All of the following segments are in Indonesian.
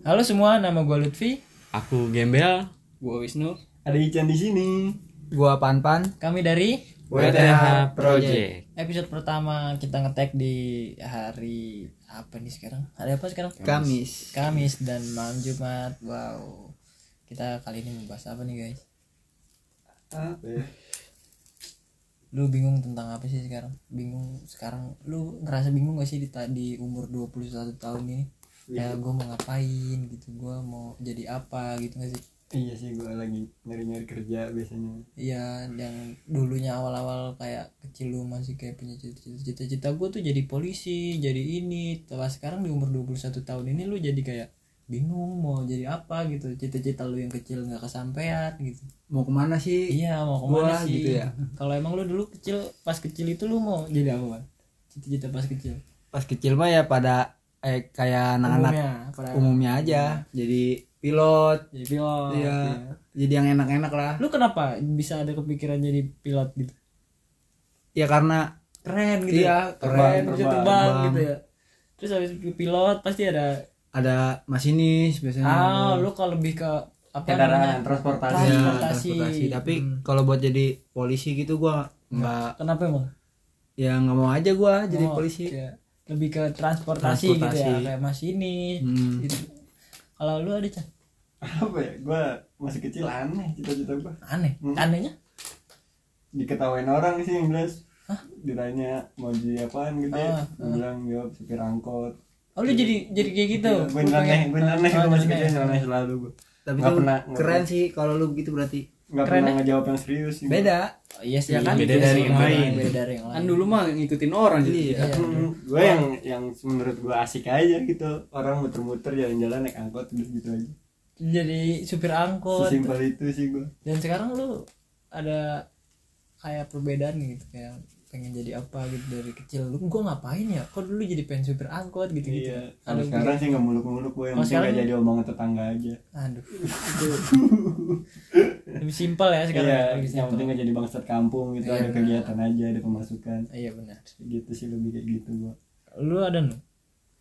Halo semua, nama gue Lutfi. Aku Gembel. Gue Wisnu. Ada Ican di sini. Gua Panpan. Kami dari WTH Project. episode pertama kita ngetek di hari apa nih sekarang? Hari apa sekarang? Kamis. Kamis dan malam Jumat. Wow. Kita kali ini membahas apa nih guys? Eh, Lu bingung tentang apa sih sekarang? Bingung sekarang lu ngerasa bingung gak sih di, ta- di umur 21 tahun ini? Ya gue mau ngapain gitu, gue mau jadi apa gitu gak sih? Iya sih gue lagi nyari-nyari kerja biasanya. Iya, yang dulunya awal-awal kayak kecil lu masih kayak punya cita-cita. Cita gue tuh jadi polisi, jadi ini. Tapi sekarang di umur 21 tahun ini lu jadi kayak bingung mau jadi apa gitu. Cita-cita lu yang kecil nggak kesampaian gitu. Mau kemana sih? Iya, mau kemana Gua sih? gitu ya. Kalau emang lu dulu kecil, pas kecil itu lu mau jadi apa? Bang? Cita-cita pas kecil. Pas kecil mah ya pada eh kayak anak-anak Umumnya, umumnya, pada- aja. Jadi pilot. Jadi Oh, pilot. Iya. iya. Jadi yang enak-enak lah. Lu kenapa bisa ada kepikiran jadi pilot gitu? Ya karena keren gitu Iya, ya keren, bisa terbang, terbang, terbang. gitu ya terus habis ke pilot pasti ada ada masinis biasanya. ah lu kalau lebih ke apa Kendaraan, namanya transportasi. Iya, transportasi. Tapi kalau buat jadi polisi gitu gua nggak kenapa emang ya nggak mau aja gua jadi Oh, polisi. iya. lebih ke transportasi, gitu ya Transportasi. kayak masinis Hmm. gitu. kalau lu ada Chan? Apa ya? Gue masih kecil aneh cita-cita gue. aneh Hmm. anehnya Diketawain orang sih yang jelas. Ditanya mau jadi apaan gitu. Ah, ya. Gua bilang jawab supir angkot. oh lu jadi jadi kayak gitu Gue nyeleneh, gue nyeleneh Oh, gue masih nyeleneh. kecil nyeleneh selalu gue. Tapi Nggak tuh pernah, nggak keren pernah. sih kalau lu gitu berarti. Nggak Keren pernah ya? ngejawab yang serius. sih. Beda. Oh, iya sih Ya kan, beda beda dari dari yang yang lain lain. beda dari yang lain Kan dulu mah ngikutin orang gitu. jadi. Iya. Hmm, gue yang yang menurut gue asik aja gitu orang muter-muter jalan-jalan naik angkot udah gitu aja jadi supir angkot sesimpel itu sih gue dan sekarang lu ada kayak perbedaan gitu kayak pengen jadi apa gitu dari kecil lu gue ngapain ya kok dulu jadi pengen supir angkot gitu gitu Iya. ada Kalau sekarang sih nggak muluk-muluk gue yang Kalau penting nggak sekarang- jadi omongan tetangga aja. aduh itu lebih simpel ya sekarang Iya, ya, lebih yang simpel. penting nggak jadi bangsat kampung gitu, Iya, ada kegiatan aja, ada pemasukan. iya benar Gitu sih lebih kayak gitu gua. lu ada nu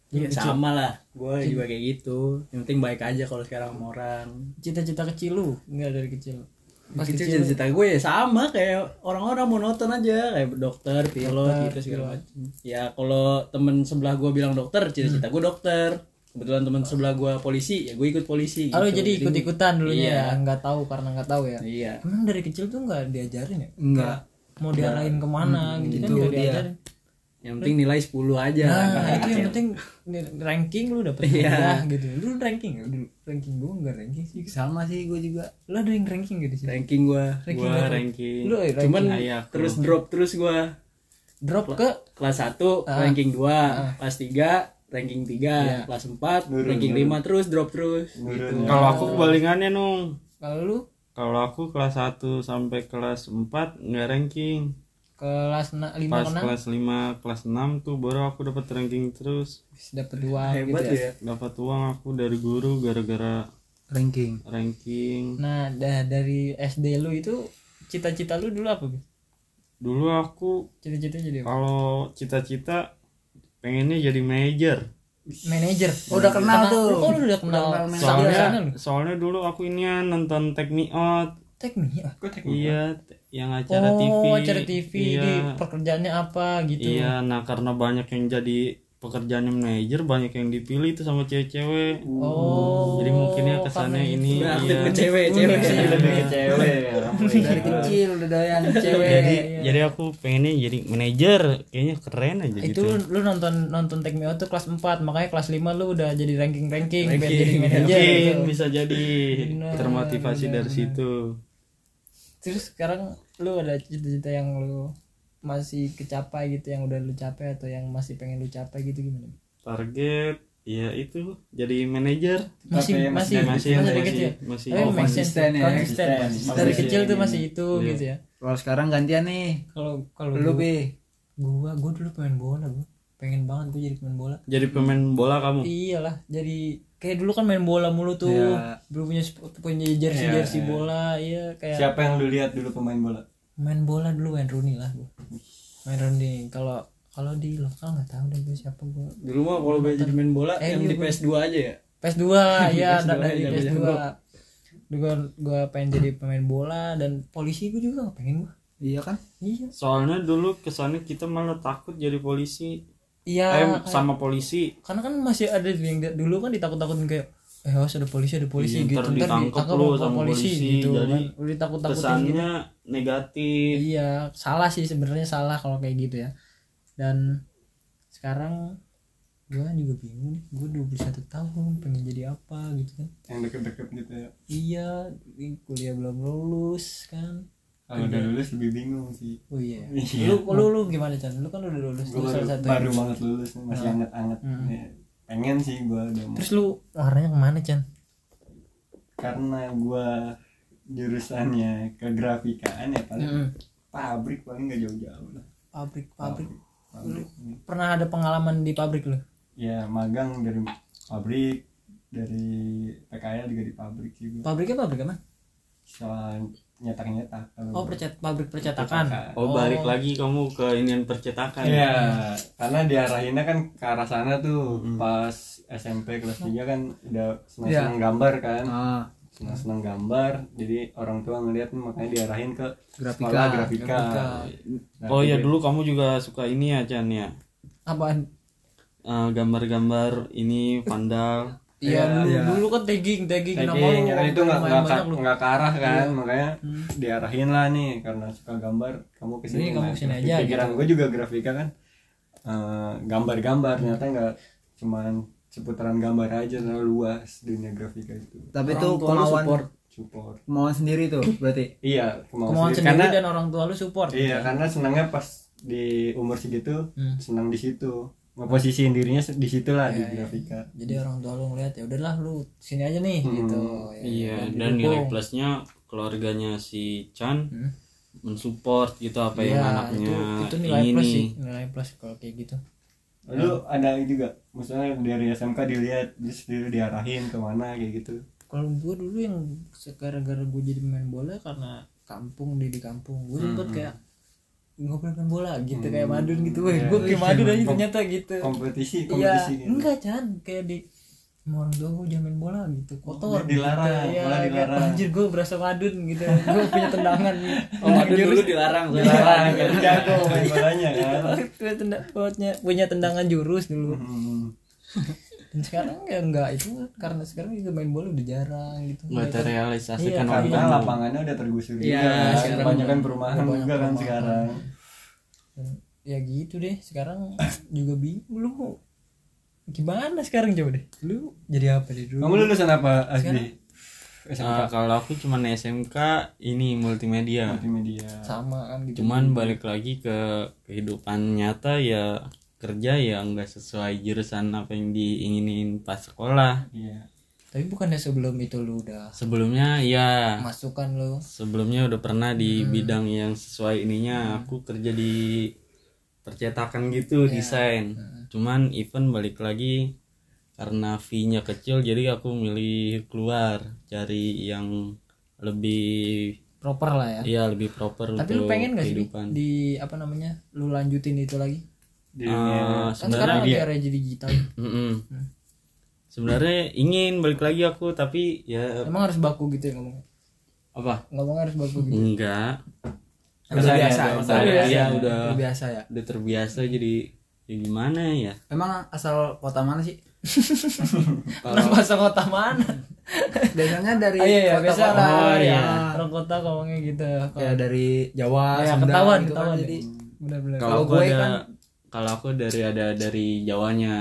Dulu Ya, kecil. sama lah. Gue Iya. juga kayak gitu. Yang penting baik aja kalau sekarang sama orang. cita-cita kecil lu enggak dari kecil Pas kecil cita-cita gue ya sama kayak orang-orang monoton aja kayak dokter, pilot Dokter, iya. gitu segala pilot. macam. Ya kalau temen sebelah gue bilang dokter, Hmm. cita-cita gue dokter. Kebetulan temen sebelah gue polisi, ya gue ikut polisi Oh, gitu. lu jadi ikut-ikutan dulunya Iya. ya nggak tahu karena nggak tahu ya Iya. emang dari kecil tuh nggak diajarin ya Enggak. mau diarahin kemana gitu kan itu nggak dia. diajarin Yang penting nilai 10 aja. Nah, Ya, Karena itu yang penting ni- ranking lu dapet Iya. yeah. gitu. Lu ranking ya dulu. Ranking gua enggak ranking sih. Sama sih gua juga. Lu ada yang ranking gak di sini? ranking gue. Ranking Gua berapa? ranking. Lu eh, ranking Cuman Ayah, aku. terus drop terus gue. drop ke kelas 1 Ah. ranking 2, kelas 3 ranking 3, Iya. kelas 4 ranking 5 terus drop terus. Nurun ya. Kalau aku kebalikannya nung. kalau lu Kalau aku kelas 1 sampai kelas 4 nggak ranking. kelas 5 Pas ke 6 kelas 5, kelas 6 tuh baru aku dapat ranking terus. dapat 2 gitu Hebat ya. ya. Dapat uang aku dari guru gara-gara Ranking. ranking. Nah, da- dari SD lu itu cita-cita lu dulu apa? Bi? Dulu aku Cita-cita jadi apa? kalau cita-cita pengennya jadi manajer. Manager. Oh, Udah kenal tuh. Lu kok lu udah kenal? Soalnya Soalnya soalnya dulu aku ini nonton Teknik Out. teknik. ah. Kok teknik? Iya, te- yang acara oh, TV. acara TV Iya. di pekerjaannya apa gitu. Iya, nah karena banyak yang jadi pekerjaannya manajer, banyak yang dipilih itu sama cewek-cewek. Oh. Jadi mungkinnya kesannya karena ini Nah, iya. ke cewek, cewek. Iya, lebih ke cewek. orang dari kecil udah doyan cewek Jadi Iya. jadi aku pengennya jadi manajer, kayaknya keren aja itu gitu. lu, lu nonton nonton Take Me Out tuh kelas 4 makanya kelas 5 lu udah jadi ranking ranking biar jadi manajer Mungkin gitu. bisa jadi Benar, termotivasi benar, dari situ. terus sekarang lu ada cita-cita yang lu masih kecapai gitu yang udah lu capai atau yang masih pengen lu capai gitu gimana Target ya itu jadi manajer. masih masih Tapi masih- masih masih- dari kecil masih- Tapi oh, make sense. konsisten ya, konsisten konsisten. dari Konsisten. kecil tuh masih itu Iya. gitu ya kalau sekarang gantian nih kalau kalau lu gua- bi gua gua dulu pemain bola gua pengen banget gua jadi pemain bola Jadi pemain bola kamu. iyalah jadi kayak dulu kan main bola mulu tuh Iya. belum punya sp- punya jersey Iya, jersey iya. bola iya kayak Siapa yang lu lihat dulu pemain bola? main bola dulu Wayne Rooney lah gua. main runding kalau kalau di lokal nggak tahu deh gue siapa gue Di rumah kalau gue jadi main bola Eh, yang iya, di gua- PS2 aja ya. PS2 ya PS2, da- dari iya, PS2 bener. gue gue pengen jadi pemain bola dan polisi gue juga nggak pengen gue Iya kan? iya Soalnya dulu kesannya kita malah takut jadi polisi. iya eh kayak- sama polisi. karena kan masih ada yang da- dulu kan ditakut-takutin kayak eh awas ada polisi ada polisi gitu Iya, ntar ntar ditangkep ditangkap lu sama, sama polisi, polisi, gitu jadi kan Lu ditakut-takutin gitu. Kesannya negatif. iya salah sih sebenarnya salah kalau kayak gitu ya dan sekarang gue juga bingung nih gue 21 tahun pengen jadi apa gitu kan yang deket-deket gitu ya iya ini kuliah belum lulus kan kalau udah lulus lebih bingung sih oh iya Iya. lu lu lu gimana Chan lu kan udah lulus gue tuh baru, salah satu baru banget lulus nih, masih anget-anget Hmm. Ya, pengen sih gue udah mau terus lu warnanya kemana Chan karena gue jurusannya kegrafikaan ya paling Hmm. pabrik paling nggak jauh-jauh lah pabrik pabrik pabrik pernah ada pengalaman di pabrik lu ya magang dari pabrik dari PKL juga di pabrik sih gue pabriknya pabrik apa soal nyetak-nyetak kalau oh gua. percet pabrik percetakan Oh, balik lagi kamu ke inian percetakan. Iya, karena diarahinnya kan ke arah sana tuh Hmm. pas SMP kelas 3 kan udah Iya. senang-senang gambar kan. Nah, Ah, Senang-senang gambar, jadi orang tua ngeliat nih, makanya diarahin ke Grafika, sekolah grafika. Nah, Oh iya jadi- dulu kamu juga suka ini ya Chan ya. apaan Eh, gambar-gambar ini vandal. Iya, dulu, dulu kan tagging, tagging, Tagging, ya kan itu nggak lumayan nggak banyak ka- lu. Iya. nggak ke arah kan, makanya diarahin lah nih karena suka gambar, kamu kesini. Jadi kamu nah, kesini aja, gitu. Pikiran gue juga grafika kan, eh, gambar-gambar ternyata nggak cuman seputaran gambar aja, terlalu luas dunia grafika itu. Orang tapi itu tua lu kemauan support. Support. kemauan sendiri tuh berarti. Iya, kemauan, Kemauan sendiri. sendiri Karena, dan orang tua lu support. gitu. iya, karena senangnya pas di umur segitu, Hmm. Iya, senang di situ. Ngeposisiin dirinya se- di situ lah di grafika. Jadi orang tua lu ngeliat ya udahlah lu sini aja nih Hmm. gitu. Ya, Iya, kan, dan didukung. nilai plusnya keluarganya si Chan mensupport gitu apa Hmm. Iya, yang anaknya itu, itu nilai ini. plus sih, nilai plus kalau kayak gitu. Lalu ada juga misalnya dari SMK dilihat terus dia diarahin kemana kayak gitu. Kalau gua dulu yang gara-gara gua jadi pemain bola karena kampung di di kampung, gua sempet Hmm. kayak ngobrol main bola gitu kayak Madun Iya, gitu. Wah, gua kayak Madun aja ternyata gitu. Kompetisi, Iya, kompetisi gitu. enggak Chan, kayak di sama orang tua gue jamin bola gitu kotor dia dilarang, gitu. Iya, malah kayak, dilarang. anjir gue berasa madun gitu gue punya tendangan gitu. Oh, aduh dulu dilarang. Dilarang, Iya. nggak jago main bolanya kan. punya, tendang, punya, punya tendangan jurus dulu Hmm. dan sekarang ya enggak itu karena sekarang juga main bola udah jarang gitu Nggak terrealisasikan Iya, waktu. Karena lapangannya udah tergusur Iya, juga. Kan. sekarang Banyak kan perumahan banyak juga kan perumahan. sekarang. Dan ya gitu deh sekarang juga bingung lu mau gimana sekarang coba deh lu jadi apa deh dulu Kamu lulusan apa, Asbi? Eh, kalau aku cuman SMK ini multimedia. Hmm. Multimedia. sama kan gitu Cuman balik lagi ke kehidupan nyata ya kerja ya nggak sesuai jurusan apa yang diinginin pas sekolah. Iya. tapi bukannya sebelum itu lu udah Sebelumnya ya masukan lu sebelumnya udah pernah di Hmm. bidang yang sesuai ininya aku kerja di percetakan gitu Iya. desain Hmm. cuman event balik lagi karena fee-nya kecil jadi aku milih keluar cari yang lebih proper lah ya ya lebih proper Tapi untuk lu pengen gak sih Bi, kehidupan di apa namanya? Lu lanjutin itu lagi? Di Eh, Kan dunia sebenarnya sekarang Hmm. lagi dia- era jadi digital. Mm-mm. sebenarnya ingin balik lagi aku tapi ya Emang harus baku gitu ya ngomongnya. apa Ngomongnya harus baku gitu. enggak Udah biasa. Udah- Udah ya, biasa. udah Udah biasa ya. udah terbiasa jadi ya gimana ya Emang asal kota mana sih? Orang bahasa kota mana? Biasanya dari Ah, iya, iya, biasa kota-kota. lah. Oh, iya. ya. Orang kota ngomongnya gitu. Kayak dari Jawa, Ya, Sunda ketahuan, gitu kan, ketahuan. jadi Benar-benar. kalau Kalau gue gue ada kan- kalau aku dari ada dari Jawanya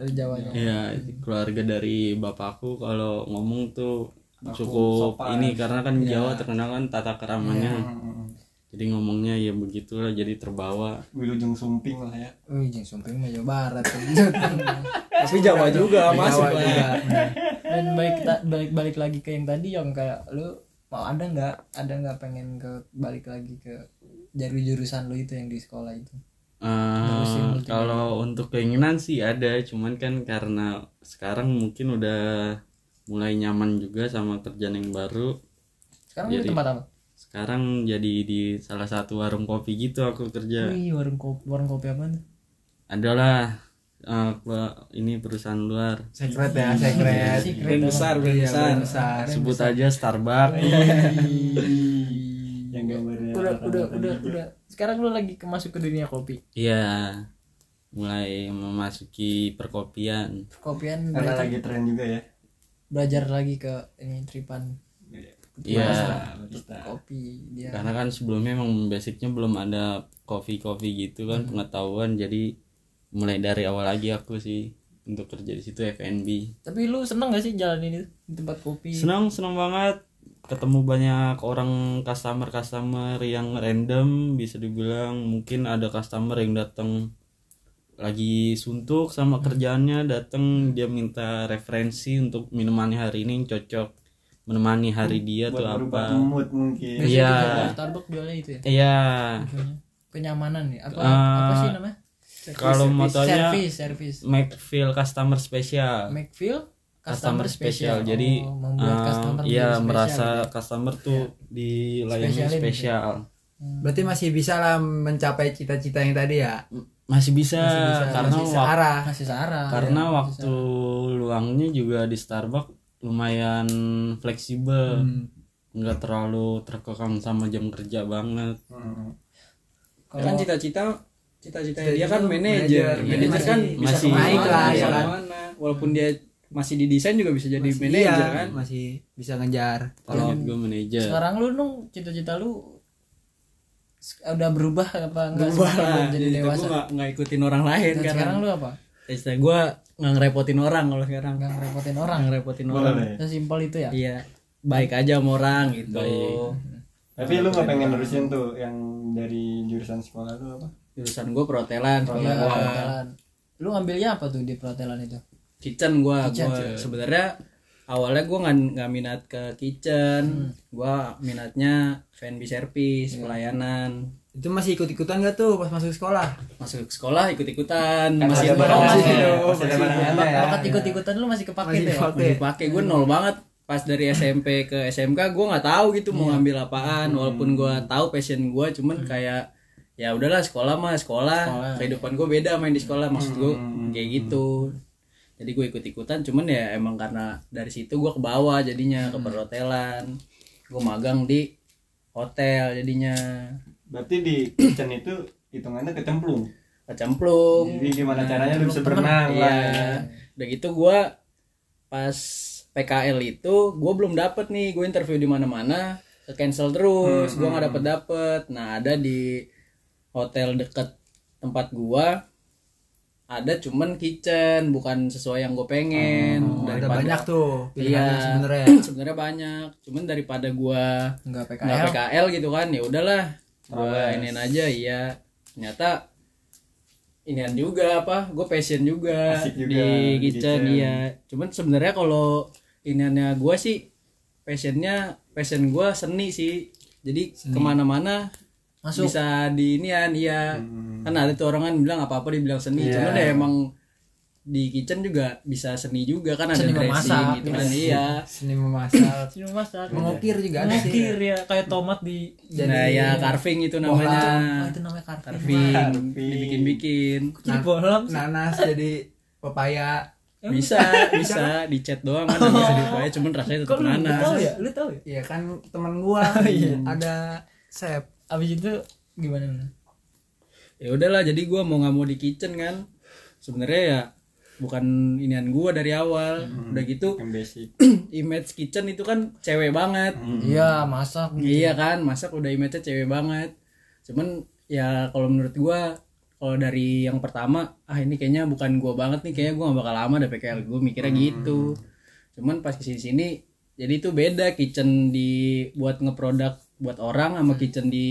Dari Jawanya. ya keluarga dari bapakku kalau ngomong tuh cukup sopan. ini karena kan Iya. Jawa terkenal kan tata keramanya jadi ngomongnya ya begitulah jadi terbawa Wilujeng Sumping lah ya. Wih, jeng sumping mah Jawa Barat. Iya. Tapi Jawa juga masuk Jawa lah. juga. Dan balik ta- balik balik lagi ke yang tadi yang kayak lu mau ada nggak ada nggak pengen ke balik lagi ke dari jurusan lu itu yang di sekolah itu Terusin Eh, multimedia. kalau untuk keinginan sih ada cuman kan karena sekarang mungkin udah mulai nyaman juga sama kerjaan yang baru sekarang lu di Jadi- tempat apa sekarang jadi di salah satu warung kopi gitu aku kerja Wih, warung kopi, warung kopi apa tuh? adalah eh, ke- ini perusahaan luar Secret ya, secret. Secret besar, brand Iya, besar. brand besar. sebut aja Oh, Starbucks iya. yang gambarnya udah udah rata-rata udah gitu. udah sekarang lu lagi ke- masuk ke dunia kopi iya mulai memasuki perkopian kopian karena berarti lagi tren juga ya belajar lagi ke ini tripan iya kopi dia karena kan sebelumnya emang basicnya belum ada kopi kopi gitu kan pengetahuan jadi mulai dari awal lagi aku sih untuk kerja di situ F&B tapi lu seneng gak sih jalan ini di tempat kopi senang senang banget ketemu banyak orang customer customer yang random bisa dibilang mungkin ada customer yang datang lagi suntuk sama kerjaannya datang dia minta referensi untuk minumannya hari ini yang cocok menemani hari dia buat tuh berubah apa mood mungkin Biasanya Iya. di Jakarta Starbucks jualnya itu ya iya jualnya. kenyamanan ya apa Eh, apa sih namanya Service, kalau service, motonya- service service make feel customer special make feel customer special jadi Oh, membuat eh, customer iya jadi gitu merasa spesial. customer tuh dilayani Spesialin gitu. spesial Berarti masih bisa lah mencapai cita-cita yang tadi ya. masih bisa, Masih bisa karena masih waktu searah. kasih sarah karena waktu luangnya juga di Starbucks lumayan fleksibel nggak terlalu terkekang sama jam kerja banget Hmm. kan Iya. cita-cita cita-cita dia Cita-cita kan lu manajer manajer. iya. manajer Masih- kan bisa masih kemana, naik lah, bisa ya kan? kemana. walaupun dia masih di desain juga bisa jadi Masih- manajer iya, kan masih bisa ngejar. kalau gue manajer sekarang lu nung cita-cita lu s- udah berubah apa enggak berubah sebelum lah jadi dewasa gue nggak ikutin orang lain Dan karena sekarang lu apa istilah gue nggak ngerepotin orang kalau sekarang nggak ngerepotin orang nggak ngerepotin orang boleh sesimpel itu ya iya baik aja sama orang gitu tapi lu nggak pengen nerusin tuh yang dari jurusan sekolah tuh apa jurusan gue perhotelan Iya, perhotelan perhotelan. lu ngambilnya apa tuh di perhotelan itu kitchen gue Kitchen, gue sebenarnya awalnya gue nggak nggak minat ke kitchen gua gue minatnya F&B service pelayanan Itu masih ikut-ikutan gak tuh pas masuk sekolah? masuk sekolah ikut ikutan masih masih ada nol barang- masih masih ada barengannya ya bakat ikut-ikutan lu masih kepake Iya, ya? Masih deh dipakai. masih pakai gue nol banget pas dari SMP ke SMK gue nggak tahu gitu mau ngambil apaan walaupun gue tahu passion gue cuman kayak ya udahlah sekolah mah sekolah, kehidupan gue beda main di sekolah maksud gue kayak gitu jadi gue ikut ikutan cuman ya emang karena dari situ gue ke bawah jadinya ke perhotelan gue magang di hotel jadinya berarti di kitchen itu hitungannya kecemplung kecemplung jadi gimana caranya lu bisa berenang lah ya. Iya. Udah gitu gua pas PKL itu gua belum dapet nih, gue interview di mana-mana, ke cancel terus, Hmm, gua nggak dapet dapet. Nah ada di hotel deket tempat gua ada cuman kitchen bukan sesuai yang gue pengen Oh, Ada banyak tuh pilihannya iya sebenarnya. sebenarnya banyak cuman daripada gua nggak PKL nggak PKL gitu kan ya udahlah gua iniin aja iya ternyata inian juga apa gue passion juga, Asik juga, di di kitchen kitchen. iya cuman sebenarnya kalau iniannya gua sih passionnya passion gua seni sih jadi kemana-mana Masuk. bisa di inian iya kan ada tuh orang kan bilang apa apa dibilang seni cuman ya emang di kitchen juga bisa seni juga kan ada Seni dressing memasak, gitu kan iya Seni memasak. Sini masak Mengukir juga ada sih. mengukir ya kayak tomat di nah ya carving itu namanya oh itu namanya kartu carving dibikin-bikin jadi bolam sih. Nanas jadi pepaya. bisa bisa di chat doang kan nggak bisa dibayar cuman rasanya kok tetap lu, lu tahu nanas ya lu tahu ya Iya kan teman gua ada Sep. abis itu gimana ya udahlah jadi gua mau nggak mau di kitchen kan sebenarnya ya bukan inian gua dari awal udah gitu yang basic image kitchen itu kan cewek banget iya masak iya kan masak udah image cewek banget cuman ya kalau menurut gua kalau dari yang pertama ah ini kayaknya bukan gua banget nih kayaknya gua gak bakal lama deh PKL gua mikirnya gitu cuman pas kesini sini jadi itu beda kitchen di buat ngeproduk buat orang sama kitchen di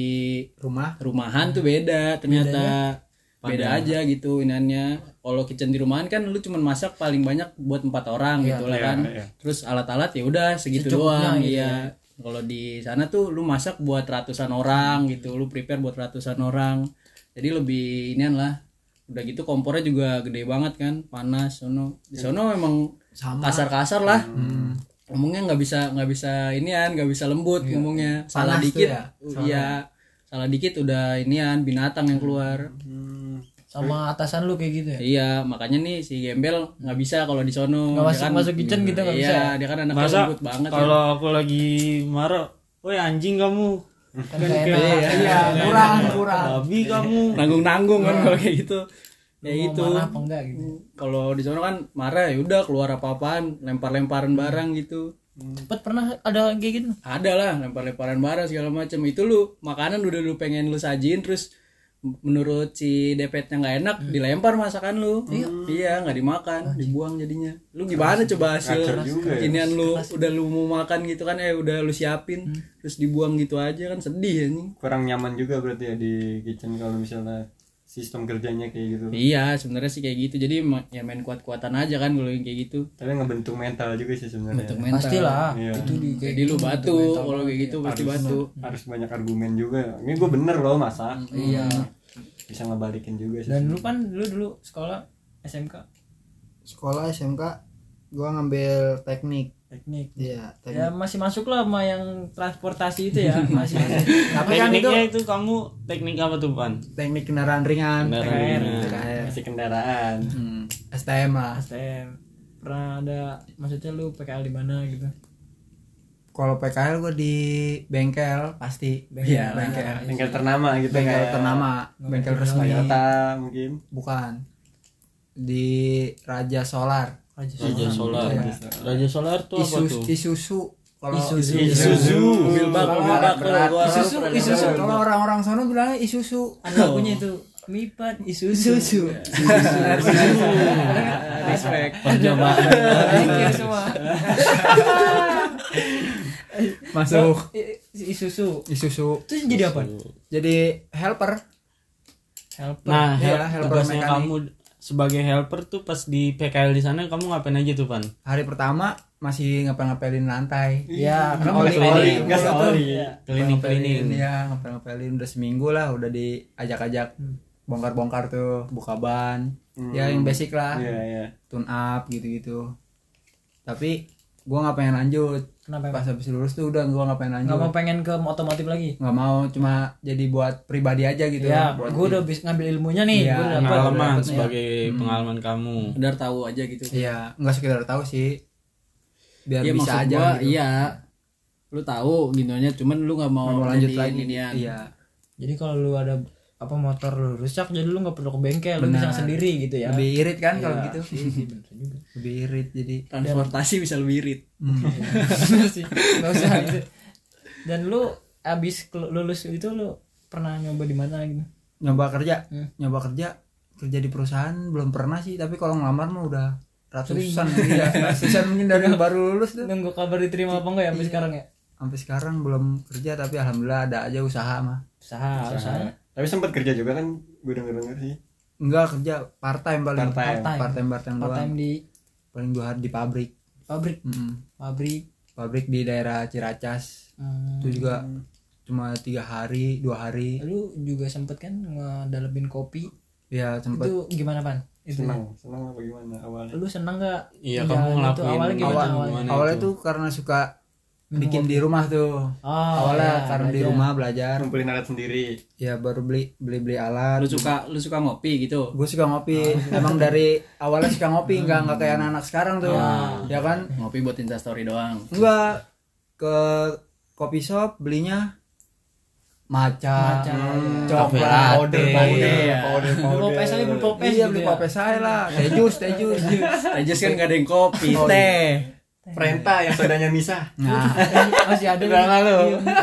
Rumah rumahan tuh beda ternyata beda aja gitu inannya kalau kitchen di rumahan kan lu cuman masak paling banyak buat empat orang gitu lah kan terus alat-alat ya udah segitu doang iya kalau di sana tuh lu masak buat ratusan orang gitu lu prepare buat ratusan orang jadi lebih inian lah udah gitu kompornya juga gede banget kan panas sono di sono emang sama kasar-kasar lah ngomongnya nggak bisa nggak bisa inian nggak bisa lembut ngomongnya salah Panas tuh dikit ya, uh, iya salah dikit udah inian binatang yang keluar Hmm, sama atasan lu kayak gitu ya iya makanya nih si gembel nggak bisa kalau di sono Nggak Dia masuk- masuk kitchen gitu nggak iya, dia kan anaknya Masa lembut banget ya. kalau aku lagi marah, woi anjing kamu. kan gak enak Iya, kurang, kurang. Babi kamu. nanggung nanggung Nah. kan kalau kayak gitu Hmm. ya Mau itu marah apa enggak gitu kalau di sono kan marah ya udah keluar apa apaan lempar Hmm. lemparan barang gitu cepet pernah ada kayak gitu ada lah lempar lemparan barang segala macam itu lu makanan udah lu pengen lu sajiin terus menurut si depetnya nggak enak dilempar masakan lu iya nggak dimakan dibuang jadinya lu gimana coba hasil Kacau juga ya. kinian lu udah lu mau makan gitu kan eh udah lu siapin terus dibuang gitu aja kan sedih anjing kurang nyaman juga berarti ya di kitchen kalau misalnya sistem kerjanya kayak gitu iya sebenarnya sih kayak gitu jadi ma- ya main kuat-kuatan aja kan kalau yang kayak gitu tapi ngebentuk mental juga sih sebenarnya Bentuk mental. pastilah Iya. itu di kayak jadi lu batu kalau kayak gitu pasti batu harus banyak argumen juga ini gue bener loh masa iya bisa ngebalikin juga sih dan lu kan dulu dulu sekolah SMK Sekolah SMK gua ngambil teknik. teknik Iya, ya teknik. masih masuk lah sama yang transportasi itu ya masih masuk. Tapi kan itu Tekniknya itu kamu teknik apa tuh, Pan? teknik kendaraan ringan, Kendaraan TKR, ringan. TKR. masih kendaraan Hmm, STM lah. STM pernah ada maksudnya lu PKL di mana gitu Kalau PKL gua di bengkel pasti. Bengkel. bengkel. iya. bengkel ternama gitu Bengkel kayak ternama, bengkel resmi. Toyota mungkin Bukan. Di Raja Solar. aja Raja Solar. Raja Solar tuh apa Isus, tuh? Isuzu. Kalau Isuzu. Isuzu Bilbao, Bilbao, Isuzu, Isuzu. Kalau orang-orang sana bilangnya Isuzu. ada lagunya Oh. itu mipat isuzu Isuzu. respect Percobaan. Thank you semua Masuk. I- isuzu Isuzu. terus jadi apa Jadi helper. helper Nah, Iya, hel- helper tugasnya mekanik. kamu sebagai helper tuh pas di PKL di sana kamu ngapain aja tuh, Pan? Hari pertama masih ngepel-ngepelin lantai. ya Kan oli ngepel-ngepelin. oli gas oli Cleaning-cleaning. Ngepel-ngepelin, Iya, ngepel-ngepelin udah seminggu lah udah diajak-ajak bongkar-bongkar tuh, buka ban. Ya yang basic lah. iya iya Tune up gitu-gitu. Tapi gua nggak pengen lanjut. kenapa Pas habis lulus tuh udah gua nggak pengen lanjut. nggak mau pengen ke otomotif lagi nggak mau cuma jadi buat pribadi aja gitu ya buat gue udah bis ngambil ilmunya nih Iya, gue udah dapat Pengalaman sebagai pengalaman kamu. sadar tahu aja gitu iya nggak sekedar tahu sih biar Iya bisa maksud aja gua, gitu iya lu tahu gitunya cuman lu nggak mau, Nggak mau lanjut jadiin lagi inian. iya jadi kalau lu ada apa motor lu rusak jadi lu nggak perlu ke bengkel lu bisa sendiri gitu ya lebih irit kan kalau Iya. gitu Iya sih, bener juga. lebih irit jadi transportasi bisa lebih irit Bener sih, nggak usah gitu. dan lu abis kelu- lulus itu lu pernah nyoba di mana gitu nyoba kerja Hmm. nyoba kerja kerja di perusahaan belum pernah sih tapi kalau ngelamar mah udah ratusan iya ratusan mungkin dari Iya. baru lulus tuh nunggu kabar diterima apa enggak ya sampai Iya. sekarang ya sampai sekarang belum kerja tapi alhamdulillah ada aja usaha mah usaha usaha tapi sempat kerja juga kan gue denger denger sih enggak kerja part time paling Part time. part time part time part doang time di paling dua hari di pabrik pabrik Mm-mm. pabrik pabrik di daerah Ciracas Hmm. itu juga cuma tiga hari dua hari lu juga sempet kan ngedalemin kopi ya itu sempet gimana pan itu senang senang apa gimana awalnya lu seneng gak Iya, Jalan kamu itu ngelakuin awalnya gimana awal awalnya? awalnya tuh karena suka bikin di rumah tuh Oh, awalnya iya, karena di belajar. rumah belajar ngumpulin alat sendiri ya baru beli beli beli lu alat suka lu suka ngopi gitu gue suka ngopi Ah. emang dari awalnya suka ngopi nggak nggak Hmm. kayak anak-anak sekarang tuh Ah. ya kan ngopi buat instastory doang enggak ke kopi shop belinya maca, coklat powder powder Iya. powder Beli powder popes aja beli popes iya gitu beli ya. kopi saya lah teh jus teh jus Tejas kan gak ada yang kopi Iya. teh perintah yang saudaranya misah nah masih ada Udah nih. lalu. Iya.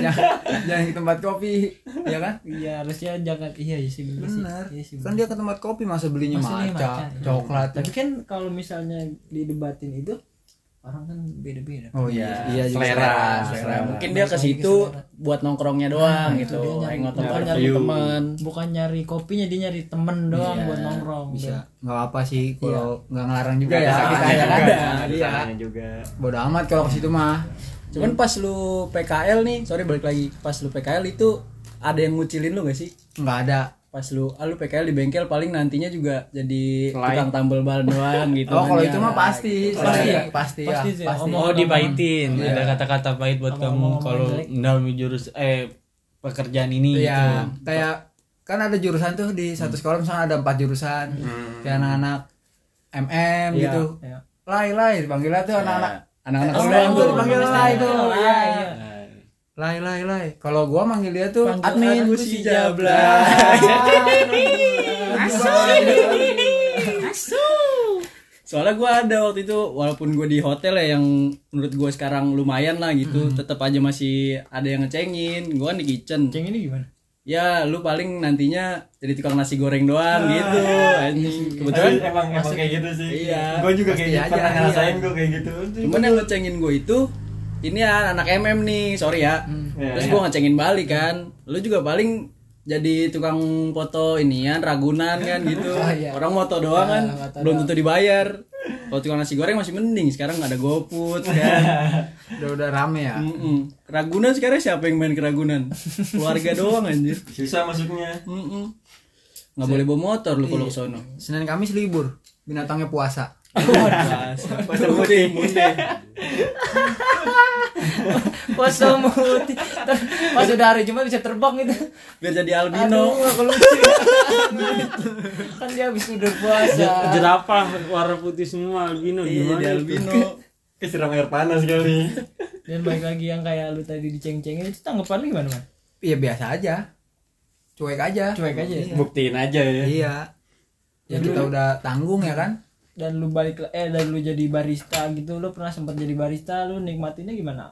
jangan, jangan ke tempat kopi ya kan iya harusnya jangan iya iya sih bener sih benar iya sih kan dia ke tempat kopi masa belinya Masa maca, beli maca, iya. coklat tapi kan kalau misalnya didebatin itu orang kan beda-beda oh iya iya juga selera, selera. mungkin dia Iya. ke situ buat nongkrongnya doang gitu hangout nongkrong Nyari Iya. nyari teman bukan nyari kopinya dia nyari temen doang buat nongkrong Iya. bisa nggak apa sih kalau nggak ngelarang juga ya kita Salahnya ya kan juga, iya salahnya juga bodo amat kalau ke situ mah cuman pas lu PKL nih sorry balik lagi pas lu PKL itu ada yang ngucilin lu gak sih nggak ada pas lu ah lu PKL di bengkel paling nantinya juga jadi tukang tambal ban doang gitu Oh, kalau kan itu ya. mah pasti, pasti ya, pasti ya. Iya, Pasti sih, Pasti. Oh dibaitin ada kata-kata pahit buat kamu kalau dalam jurus eh pekerjaan ini gitu. Iya, kayak kan ada jurusan tuh di satu sekolah misalnya ada empat jurusan. Kayak anak-anak MM Iya, gitu. iya. Lai lai dipanggilnya tuh anak-anak. anak-anak Oh, STM tuh dipanggil lai tuh. Iya, iya. Lai lai lai. Kalau gua manggil dia tuh admin. aku si jabla soalnya gue ada waktu itu walaupun gue di hotel ya yang menurut gue sekarang lumayan lah gitu Hmm. tetap aja masih ada yang ngecengin gue kan di kitchen Ceng ini gimana? ya lu paling nantinya jadi tukang nasi goreng doang gitu anjing kebetulan Tapi Ah. emang emang kayak gitu sih Iya. gue juga kayak Pasti gitu aja, pernah iya. ngerasain gue kayak gitu cuman yang ngecengin gue itu ini ya anak MM nih sorry ya Iya, terus iya. gue ngecengin balik kan lu juga paling jadi tukang foto inian ragunan kan gitu orang moto doang kan belum tentu dibayar kalau tukang nasi goreng masih mending sekarang ada GoFood kan Udah udah rame ya. Mm-mm. Ragunan sekarang siapa yang main ke Ragunan? Keluarga doang anjir. susah maksudnya Mm-mm. Nggak boleh bawa motor lu kalau ke sono. Senin Kamis libur. Binatangnya puasa. Pasar putih. Puasa muti. Ter- Pas udah hari Jumat bisa terbang gitu. Biar jadi Aduh, albino. aku lucu. kan dia habis udah puasa. Eh, jerapah warna putih semua albino Iya, jadi gimana itu? albino. kesiram air panas kali Dan balik lagi yang kayak lu tadi diceng-cengin itu tanggapan lu gimana, Man? Iya biasa aja. Cuek aja. Cuek aja ya. buktiin aja ya Iya. Ya kita udah tanggung ya kan. Dan lu balik eh dan lu jadi barista gitu, lu pernah sempat jadi barista, lu nikmatinnya gimana?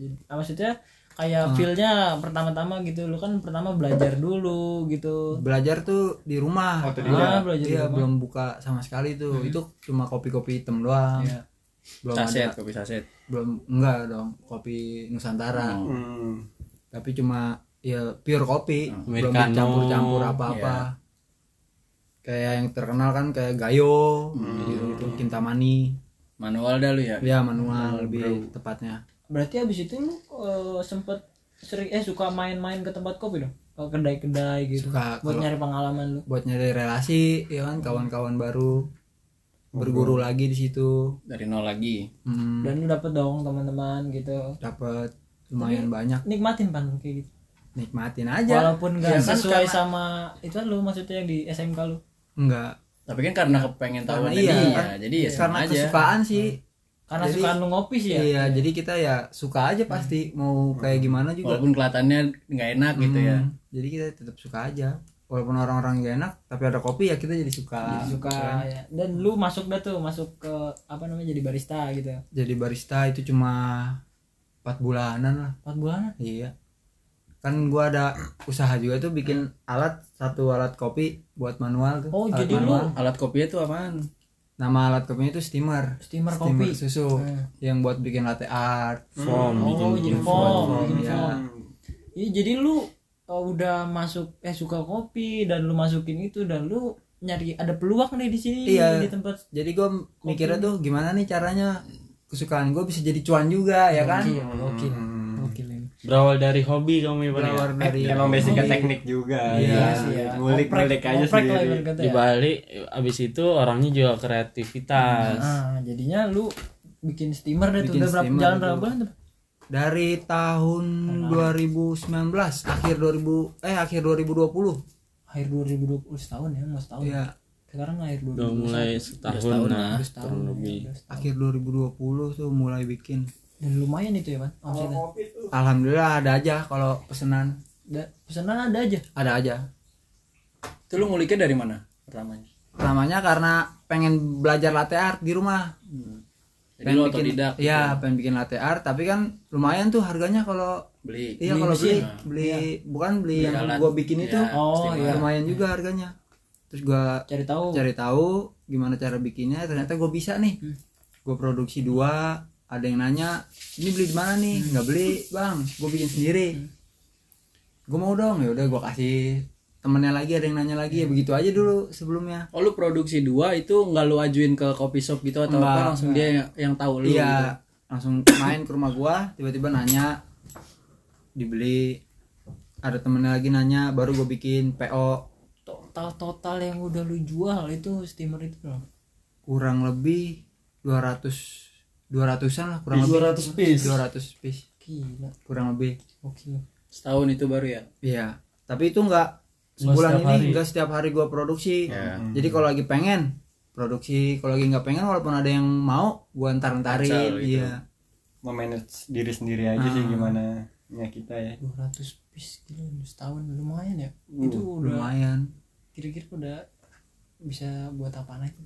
Jadi- ah, maksudnya kayak Hmm. feel-nya pertama-tama gitu, lu kan pertama belajar dulu gitu. Belajar tuh di rumah. Ah, belajar Iya, dulu. belum buka sama sekali tuh. Itu cuma kopi-kopi hitam doang. Hmm. Iya. Belum Saset, ada kopi saset. belum enggak dong kopi Nusantara Hmm. tapi cuma ya pure kopi Hmm. belum Americano. dicampur-campur apa-apa Iya. kayak yang terkenal kan kayak Gayo Hmm. gitu, gitu Kintamani Manual dah lu ya. ya manual lebih tepatnya Berarti habis itu lu eh, sempet sering eh suka main-main ke tempat kopi dong? Ke kedai-kedai gitu. Suka, buat kalau- nyari pengalaman lu. buat nyari relasi ya Hmm. kan kawan-kawan baru berguru lagi di situ Dari nol lagi. Hmm, Dan lu dapet dong teman-teman gitu. dapat lumayan banyak Nikmatin pan kayak gitu. nikmatin aja Walaupun Iya, gak sesuai sama itu kan lu maksudnya yang di SMK lu. enggak Tapi kan karena kepengen tahu karena dia, iya jadi ya sama karena aja. kesukaan Hmm. sih Karena Jadi- suka lu ngopi sih ya. Iya, jadi kita ya suka Hmm. aja pasti mau kayak gimana juga. Walaupun kelihatannya nggak enak gitu ya. Hmm, Jadi kita tetap suka aja. Walaupun orang-orang gak enak, tapi ada kopi ya kita jadi suka. suka ya. Dan lu masuk dah tuh, masuk ke apa namanya jadi barista gitu. Jadi barista itu cuma empat bulanan lah. 4 bulan. Iya. Kan gua ada usaha juga tuh bikin alat satu alat kopi buat manual tuh. Oh, alat jadi lu manual. Alat kopinya tuh apaan? nama alat kopinya itu steamer. Steamer kopi. Hmm. susu yang buat bikin latte art. iya. Form, bikin Oh, jadi form. form, bikin form. Iya, jadi lu uh, udah masuk eh suka kopi dan lu masukin itu dan lu nyari ada peluang nih di sini Iya. di tempat Jadi gue mikirnya tuh gimana nih caranya kesukaan gue bisa jadi cuan juga ya kan? Gokil, gokil. Gokil ini. Berawal dari hobi kamu ya Pan, ya? Berawal gitu dari emang basicnya teknik juga Iya sih Iya. ngulik Oprek- ngulik aja oprek lah sendiri ibarat kata di ya. balik abis itu orangnya juga kreativitas Ah, jadinya lu bikin steamer deh tuh Bikin udah berapa steamer jalan itu. berapa bulan tuh? dari tahun 2019 akhir 2000 eh akhir 2020 Akhir 2020 setahun ya, mau setahun. ya Sekarang akhir 2021. udah mulai setahun nah tahun lebih akhir 2020 tuh mulai bikin Dan lumayan itu ya, Pan. Omsetnya. alhamdulillah ada aja kalau pesenan Da- pesanan ada aja. ada aja Itu lu nguliknya dari mana pertamanya? pertamanya karena pengen belajar latte art di rumah Jadi lu otodidak ya pengen bikin latte art tapi kan lumayan tuh harganya kalau beli. iya kalau beli beli bukan beli yang alat. gua bikin itu Iya, Oh, iya. lumayan juga harganya terus gua Cari tahu. cari tahu gimana cara bikinnya ternyata gue bisa nih gue produksi dua ada yang nanya ini beli di mana nih nggak beli bang gue bikin sendiri gue mau dong ya udah gue kasih temennya lagi ada yang nanya lagi ya begitu aja dulu sebelumnya Oh lu produksi dua itu nggak lu ajuin ke coffee shop gitu atau Nggak, apa langsung dia yang, yang tahu lu? gitu? iya langsung main ke rumah gue tiba-tiba nanya dibeli ada temennya lagi nanya baru gue bikin PO total total yang udah lu jual itu steamer itu berapa? kurang lebih 200 200-an lah kurang lebih 200 piece. 200 piece Gila, kurang lebih oke. setahun itu baru ya Iya, tapi itu enggak sebulan setiap ini hari. enggak setiap hari gua produksi. Jadi kalau lagi pengen produksi, kalau lagi nggak pengen walaupun ada yang mau gua Pacal entar-entarin. gitu. Iya. memanage diri sendiri aja sih gimana nya kita ya 200 piece gila setahun lumayan ya. itu udah Uh, Lumayan. kira-kira udah bisa buat apa lagi?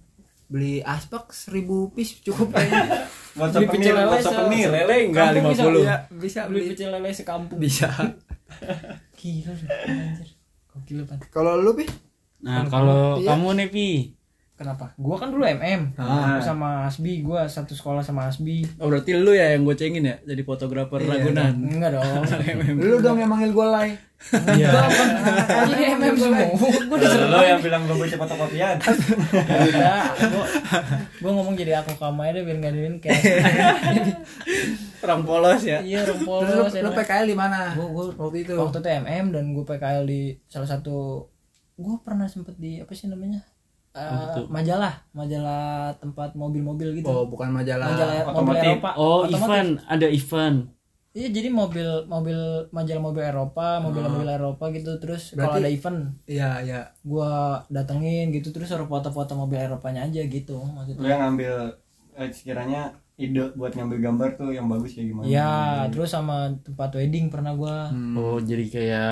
Beli aspak 1000 piece cukup kayaknya. buat Beli souvenir pecel lele, buat souvenir se- lele enggak Kampung Iya, bisa 50 beli. bisa Beli beli. pecel lele sekampung. Bisa. Gila lu, anjir. Gokil lu, Pan. Kalau lu, Pi? Nah, kalau Iya. kamu nih Pi, Kenapa? Gua kan dulu MM. Aku sama Asbi, gua satu sekolah sama Asbi. oh berarti lu ya yang gocengin ya jadi fotografer Ragunan Enggak dong. Lu dong yang manggil gua Lai. Iya. Jadi MM semua. Gua diserang. lo yang bilang lo bocah fotokopian Enggak, gua, gua ngomong jadi aku kamu aja deh, biar nggak diin kayak orang polos ya iya rumpol Terus lu, lu PKL di mana? Gua- gua waktu itu. waktu itu MM dan gue PKL di salah satu gue pernah sempet di apa sih namanya Eh, majalah majalah tempat mobil-mobil gitu Oh, bukan majalah. majalah ya? mobil otomotif. Eropa oh Otomotif. event, ada event. iya jadi mobil mobil majalah mobil Eropa mobil mobil Eropa gitu terus kalau Berarti- ada event Iya, iya. gue datengin gitu terus suruh foto-foto mobil Eropanya aja gitu maksudnya lo yang ngambil eh, sekiranya ide buat ngambil gambar tuh yang bagus kayak gimana ya Hmm. terus sama tempat wedding pernah gue Oh, jadi kayak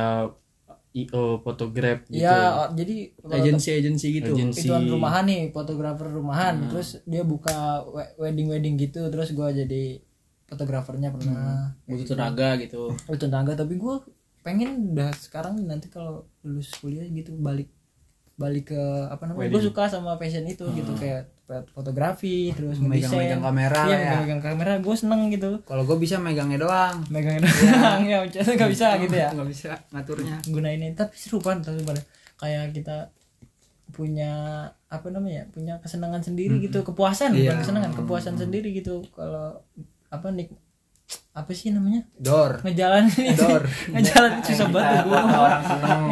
IO fotograf gitu. Iya, o- jadi kalau agensi agensi gitu Agensi. ituan rumahan nih fotografer rumahan Hmm. terus dia buka wedding wedding gitu terus gua jadi fotografernya pernah Hmm. butuh tenaga gitu itu tangga tapi gua pengen udah sekarang nanti kalau lulus kuliah gitu balik balik ke apa namanya gue suka sama passion itu gitu kayak fot- fotografi terus Hmm. Megang-megang kamera iya, ya. megang kamera gue seneng gitu Kalau gua bisa megangnya doang. megangin doang ya maksudnya nggak bisa gitu ya Nggak bisa ngaturnya. gunainnya tapi seru kan tapi pada kayak kita punya apa namanya punya kesenangan sendiri gitu kepuasan Iya. bukan kesenangan kepuasan sendiri gitu kalau apa nik apa sih namanya Dor. ngejalanin itu Dor. ngejalanin susah banget ya gua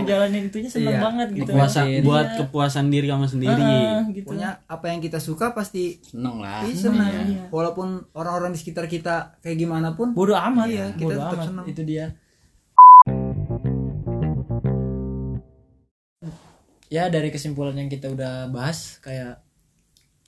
ngejalanin itunya seneng Iya. banget gitu Puasa- Iya. buat kepuasan diri kamu sendiri. Ah, gitu Pokoknya apa yang kita suka pasti seneng lah Iya. bisa Iya, Walaupun orang-orang di sekitar kita kayak gimana pun. bodoh amat Iya, kita bodoh tetap amat seneng. itu dia ya dari kesimpulan yang kita udah bahas kayak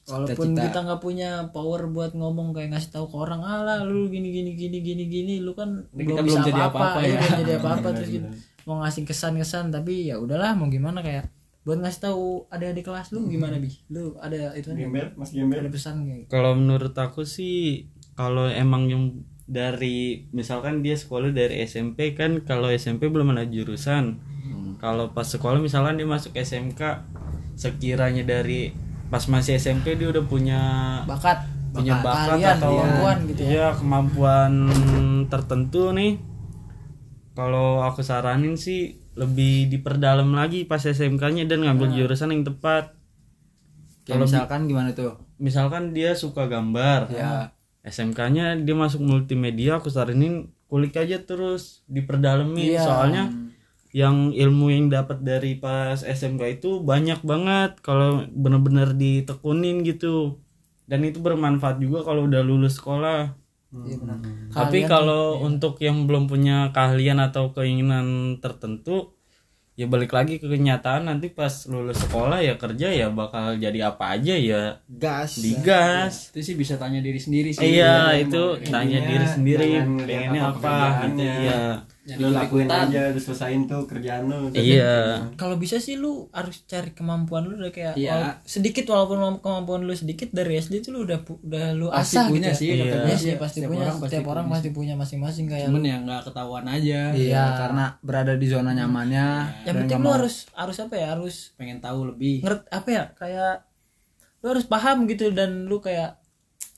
walaupun Cita-cita. kita nggak punya power buat ngomong kayak ngasih tahu ke orang ala lu gini gini gini gini gini lu kan kita belum jadi apa-apa iya, ya." belum jadi apa apa terus gitu mau ngasih kesan kesan tapi ya udahlah mau gimana kayak buat ngasih tahu ada di kelas lu gimana bi lu ada itu kan, gembel mas ada gembel pesan kayak Kalau menurut aku sih kalau emang yang dari misalkan dia sekolah dari SMP kan kalau SMP belum ada jurusan. Kalau pas sekolah misalkan dia masuk SMK sekiranya dari pas masih SMP dia udah punya bakat punya bakat keahlian, atau kemampuan gitu ya. iya, kemampuan tertentu nih kalau aku saranin sih lebih diperdalam lagi pas SMK-nya dan Nah. ngambil jurusan yang tepat Kayak misalkan kan, gimana tuh? misalkan dia suka gambar Ya. SMK-nya dia masuk multimedia aku saranin kulik aja terus diperdalami Iya. soalnya yang ilmu yang dapat dari pas SMK itu banyak banget kalau bener-bener ditekunin gitu dan itu bermanfaat juga kalau udah lulus sekolah Iya, benar. tapi kalau untuk yang belum punya keahlian atau keinginan tertentu ya balik lagi ke kenyataan nanti pas lulus sekolah ya kerja ya bakal jadi apa aja ya Gas. digas itu sih bisa tanya diri sendiri sih Iya itu tanya diri sendiri jangan ngeliat Iya. pengennya apa apa gitu kerjaannya. ya. lo lakuin aja lu selesain tuh kerjaan lo Iya. kalau bisa sih lu harus cari kemampuan lu udah kayak Iya. wala- sedikit walaupun mem- kemampuan lu sedikit dari SD tuh lu udah pu- udah lu pasti asah punya gitu sih ya. Iya. Iya, katanya sih, sih pasti punya orang pasti setiap orang punya. pasti punya masing-masing kayak cuman ya nggak ketahuan aja Iya, karena berada di zona nyamannya. yang penting lu harus harus apa ya harus pengen tahu lebih ngerti apa ya kayak lu harus paham gitu dan lu kayak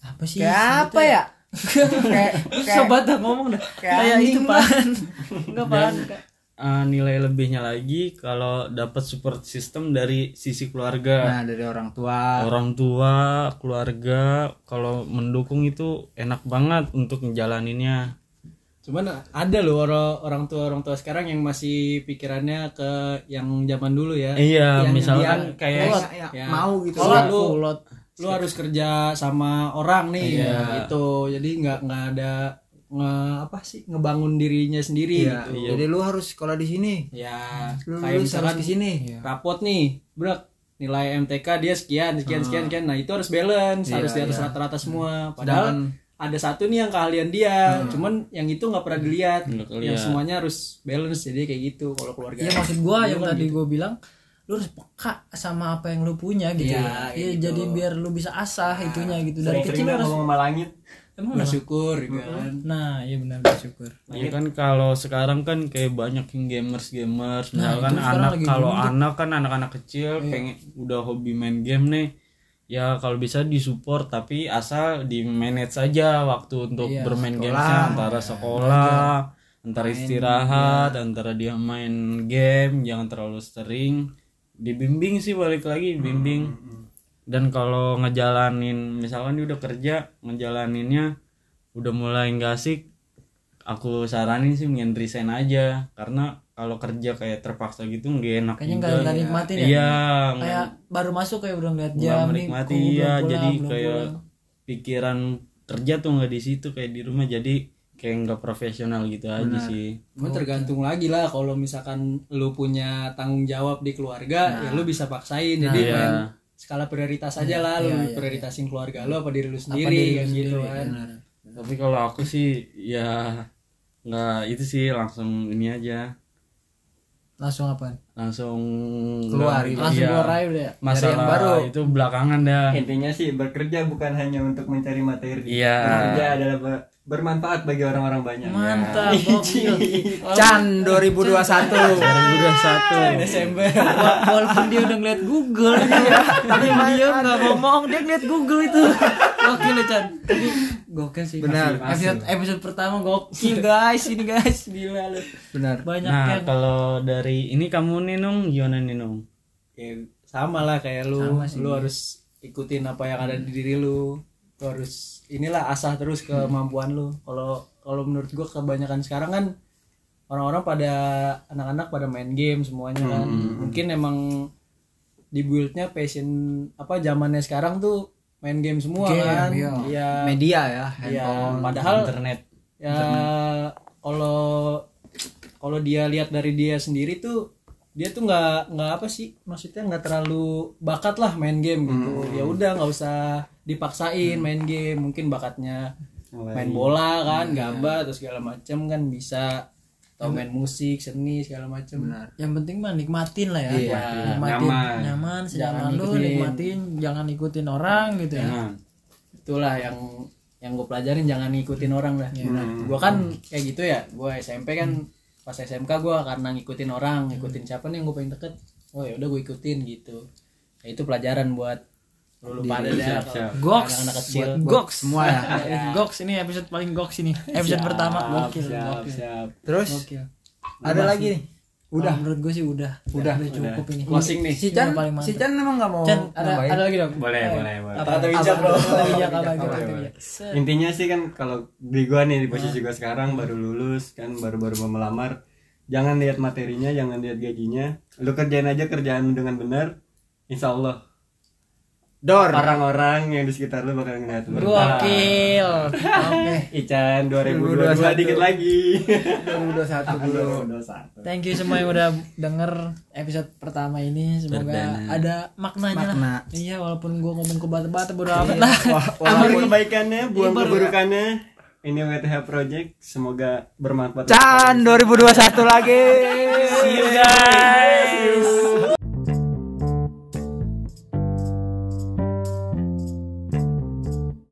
apa sih Gitu Kayak apa ya? kayak sobat dah ngomong dah kayak itu pan enggak pan Eh, nilai lebihnya lagi kalau dapat support system dari sisi keluarga, nah dari orang tua. orang tua, keluarga kalau mendukung itu enak banget untuk ngejalaninnya. Cuman ada loh orang orang tua orang tua sekarang yang masih pikirannya ke yang zaman dulu ya. Iya, Yang misalkan dia- kayak Ya, ya, Ya. mau gitu Kolot. Lu- lu- Kulot. lu harus kerja sama orang nih Iya. gitu jadi nggak nggak ada nge- apa sih ngebangun dirinya sendiri Iya. gitu jadi lu harus sekolah di sini ya lu kayak lulus harus Iya. misalkan di sini rapot nih brek nilai MTK dia sekian sekian Ah. sekian sekian nah itu harus balance Iya, harus di atas rata-rata Hmm. semua padahal ada satu nih yang keahlian dia cuman yang itu nggak pernah Hmm. dilihat yang semuanya harus balance jadi kayak gitu kalau keluarga Iya maksud gua yang tadi gua bilang lu harus peka sama apa yang lu punya gitu ya. Iya jadi biar lu bisa asah itunya gitu dari sering-sering kecil dah harus ngomong sama langit emang udah- bersyukur gitu Hmm. kan Nah, iya benar bersyukur. Iya kan kalau sekarang kan kayak banyak yang gamers gamers misalkan anak kalau anak kan anak-anak kecil pengen udah hobi main game nih ya kalau bisa disupport tapi asal di manage saja waktu untuk bermain gamesnya antara sekolah antara istirahat antara dia main game jangan terlalu sering dibimbing sih balik lagi bimbing Hmm, dan kalau ngejalanin misalkan dia udah kerja ngejalaninnya udah mulai nggak asik aku saranin sih mendingan resign aja karena kalau kerja kayak terpaksa gitu nggak enak Kayaknya juga. nggak nggak nikmatin ya. iya Kayak baru masuk kayak udah ngeliat nggak jam nih. menikmati kok belum iya pulang, jadi belum kayak pulang. pikiran kerja tuh nggak di situ kayak di rumah jadi kayak nggak profesional gitu aja sih Cuma tergantung lagi lah kalau misalkan lu punya tanggung jawab di keluarga ya lu bisa paksain jadi Iya. main skala prioritas aja lah lu prioritasin keluarga lu Iya, apa diri lu sendiri kan gitu kan. tapi kalau aku sih ya nggak itu sih langsung ini aja langsung apaan? langsung Keluar nggak- gitu. Langsung iya. keluar aja udah ya. masalah baru. itu belakangan dah Iya. intinya sih bekerja bukan hanya untuk mencari materi Iya. bekerja adalah ber- bermanfaat bagi orang-orang banyak Mantap, gokil. Can 2021 2021 Desember. Wa- Walaupun dia udah ngeliat Google gitu ya. Tapi dia nggak ngomong, dia ngeliat Google itu. Gokil ya, Chan. Tapi gokil sih. Benar, masih. Episode episode pertama gokil, guys. Ini guys, gila lu. benar Banyak kan. nah yang kalau dari ini kamu nih nung gimana nih nung Ya, sama iya. lah kayak lu lu harus ikutin apa yang ada di diri lu. Lu harus inilah asah terus kemampuan lu. Kalau kalau menurut gua kebanyakan sekarang kan orang-orang pada anak-anak pada main game semuanya kan. Mungkin emang dibuildnya passion apa zamannya sekarang tuh main game semua kan. Iya. media ya Iya, padahal internet. Ya kalau kalau dia lihat dari dia sendiri tuh dia tuh nggak nggak apa sih maksudnya nggak terlalu bakat lah main game gitu. Ya udah nggak usah dipaksain main game. Mungkin bakatnya main bola kan, gambar terus segala macam kan bisa atau main musik, seni segala macam. yang penting mah nikmatin lah ya. nikmatin nyaman, senyaman lu nikmatin, jangan ikutin orang gitu ya. Nah. itulah yang yang gue pelajarin jangan ngikutin orang lah gue kan kayak gitu ya gue SMP kan pas SMK gue karena ngikutin orang ngikutin siapa nih yang gue pengen deket oh ya udah gue ikutin gitu ya, itu pelajaran buat lulu pada deh kalau Goks, anak-anak kecil buat goks semua ya Goks ini episode paling goks ini. Episode pertama gokil. siap gokil. siap terus Gokil. ada lagi nih Udah menurut gue sih udah. Udah, cukup ini. closing nih si Chan Ini paling mantap. si Chan emang nggak mau Chan, ada nambahin? ada lagi dong. boleh boleh boleh Kata bijak bro. Kata bijak apa gitu. kata bijak. Set. intinya sih kan kalau di gua nih di posisi gua sekarang baru lulus kan baru-baru mau melamar jangan lihat materinya jangan lihat gajinya lu kerjain aja kerjaan lu dengan benar insya Allah dor orang-orang yang di sekitar lu bakal ngeliat lu Gokil. Oke. Ican 2022 dikit lagi 2021 dulu dosa Thank you semua yang udah denger episode pertama ini. Semoga ada maknanya Makna. lah. Iya, walaupun gua ngomong ke bata-bata bodo amat lah. ambil kebaikannya buang keburukannya ini WTH Project semoga bermanfaat Chan 2021 lagi See you guys.